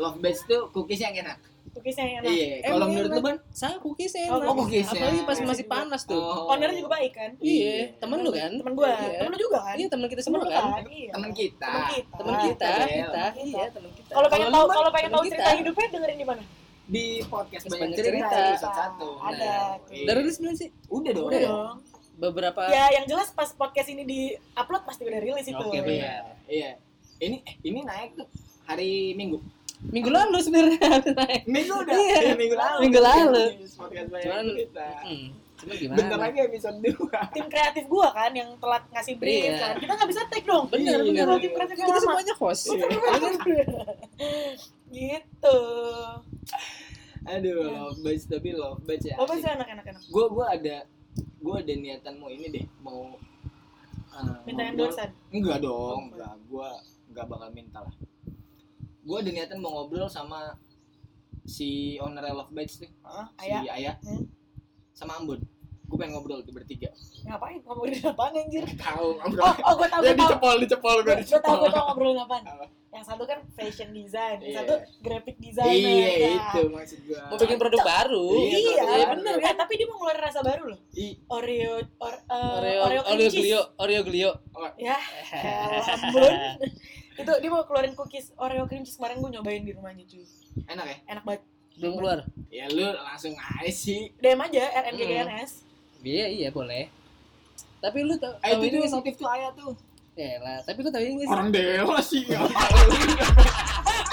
Speaker 2: Love base tuh cookies yang enak
Speaker 3: cookiesnya yang enak.
Speaker 2: Iya Kalau
Speaker 1: Emang
Speaker 2: menurut lu
Speaker 1: enak.
Speaker 2: Ban
Speaker 1: saya cookies enak
Speaker 3: Oh,
Speaker 2: cookies ya.
Speaker 1: apalagi pas masih panas tuh
Speaker 2: Oh.
Speaker 3: Owner juga baik kan?
Speaker 1: iya temen lu kan
Speaker 3: Temen gua,
Speaker 1: Iya.
Speaker 3: temen lu juga kan?
Speaker 1: Iya teman kita
Speaker 3: Temen
Speaker 1: semua
Speaker 3: lu
Speaker 1: kan.
Speaker 3: Iya.
Speaker 2: Temen kita
Speaker 3: Temen kita.
Speaker 1: Teman kita,
Speaker 2: Del.
Speaker 1: kita,
Speaker 3: Kita.
Speaker 1: iya teman kita.
Speaker 3: Kalau pengen
Speaker 1: lu
Speaker 3: tahu
Speaker 1: mah
Speaker 3: kalau pengen
Speaker 1: temen
Speaker 3: tahu cerita
Speaker 1: kita.
Speaker 3: hidupnya dengerin di mana?
Speaker 2: di podcast
Speaker 1: Terus
Speaker 2: banyak
Speaker 1: banyak
Speaker 2: cerita,
Speaker 1: cerita.
Speaker 2: episode satu.
Speaker 3: Ada.
Speaker 2: Iya.
Speaker 1: udah rilis belum sih?
Speaker 2: udah dong.
Speaker 1: Udah ya?
Speaker 2: Udah
Speaker 3: Iya dong.
Speaker 1: Beberapa
Speaker 3: Ya, yang jelas pas podcast ini di-upload pasti udah rilis itu.
Speaker 1: Oke, bener.
Speaker 2: Iya. Iya. Ini eh, ini naik tuh hari Minggu.
Speaker 1: minggu lalu sebenarnya naik.
Speaker 2: Minggu udah.
Speaker 1: Iya.
Speaker 2: Iya, minggu lalu. Iya,
Speaker 1: Minggu lalu.
Speaker 2: Podcast banyak
Speaker 1: Cuman-
Speaker 2: cerita.
Speaker 1: Hmm, cuma gimana?
Speaker 2: Bentar lagi episode 2.
Speaker 3: Tim kreatif gua kan yang telat ngasih brief
Speaker 1: Iya.
Speaker 3: kan. Kita nggak bisa take dong.
Speaker 1: Bener,
Speaker 2: Iya.
Speaker 1: bener.
Speaker 3: Kalau tim kreatif
Speaker 1: Kita
Speaker 3: lama.
Speaker 1: semuanya host.
Speaker 2: Iya.
Speaker 3: gitu.
Speaker 2: Aduh, love bass tapi love bass ya.
Speaker 3: Apa sih anak-anak enak?
Speaker 2: Gue gua ada gua ada niatan mau ini deh, mau eh,
Speaker 3: minta
Speaker 2: ngobrol.
Speaker 3: endorsean
Speaker 2: Enggak dong, enggak. Gua enggak bakal minta lah. Gua ada niatan mau ngobrol sama si owner Love Bites tuh,
Speaker 3: Hah?
Speaker 2: si
Speaker 3: ayah
Speaker 2: Ayah.
Speaker 3: Hmm.
Speaker 2: Sama Ambon. Gue pengen ngobrol tuh bertiga.
Speaker 3: ngapain ngomongin apaan anjir
Speaker 2: Tahu ngobrol.
Speaker 3: oh oh gue tau
Speaker 2: ya
Speaker 3: gue tau
Speaker 2: dicepol, dicepol
Speaker 3: gue
Speaker 2: gua
Speaker 3: gue tau gue
Speaker 2: dicepol.
Speaker 3: tau ngobrolin apaan
Speaker 2: Apa?
Speaker 3: yang satu kan fashion design yang
Speaker 2: Iya.
Speaker 3: satu graphic designer
Speaker 2: Iya,
Speaker 3: Nah,
Speaker 2: itu maksud gua.
Speaker 1: Mau bikin produk baru.
Speaker 2: Iya,
Speaker 3: Iya,
Speaker 2: produk baru.
Speaker 3: bener kan? Tapi dia mau ngeluarin rasa baru loh.
Speaker 2: I-
Speaker 3: Oreo, or, eh,
Speaker 1: Oreo,
Speaker 3: Oreo, cream
Speaker 1: Oreo
Speaker 3: cheese.
Speaker 1: Glio, Oreo Glio.
Speaker 3: Ya, elah, ampun. itu dia mau keluarin cookies Oreo cream cheese kemarin gue nyobain di rumahnya cuy.
Speaker 2: enak ya?
Speaker 3: Enak banget.
Speaker 1: Belum keluar.
Speaker 2: Ya lu langsung aja sih.
Speaker 3: DM aja RNGGNS.
Speaker 1: Iya, iya boleh. Tapi lu tau
Speaker 2: Eh
Speaker 1: tau
Speaker 2: itu
Speaker 1: ini
Speaker 2: tuh
Speaker 1: nggak sih?
Speaker 2: notif tuh Ayah tuh.
Speaker 1: Ya lah, tapi lu tau ini nggak sih?
Speaker 2: Orang dewa sih. nggak tahu.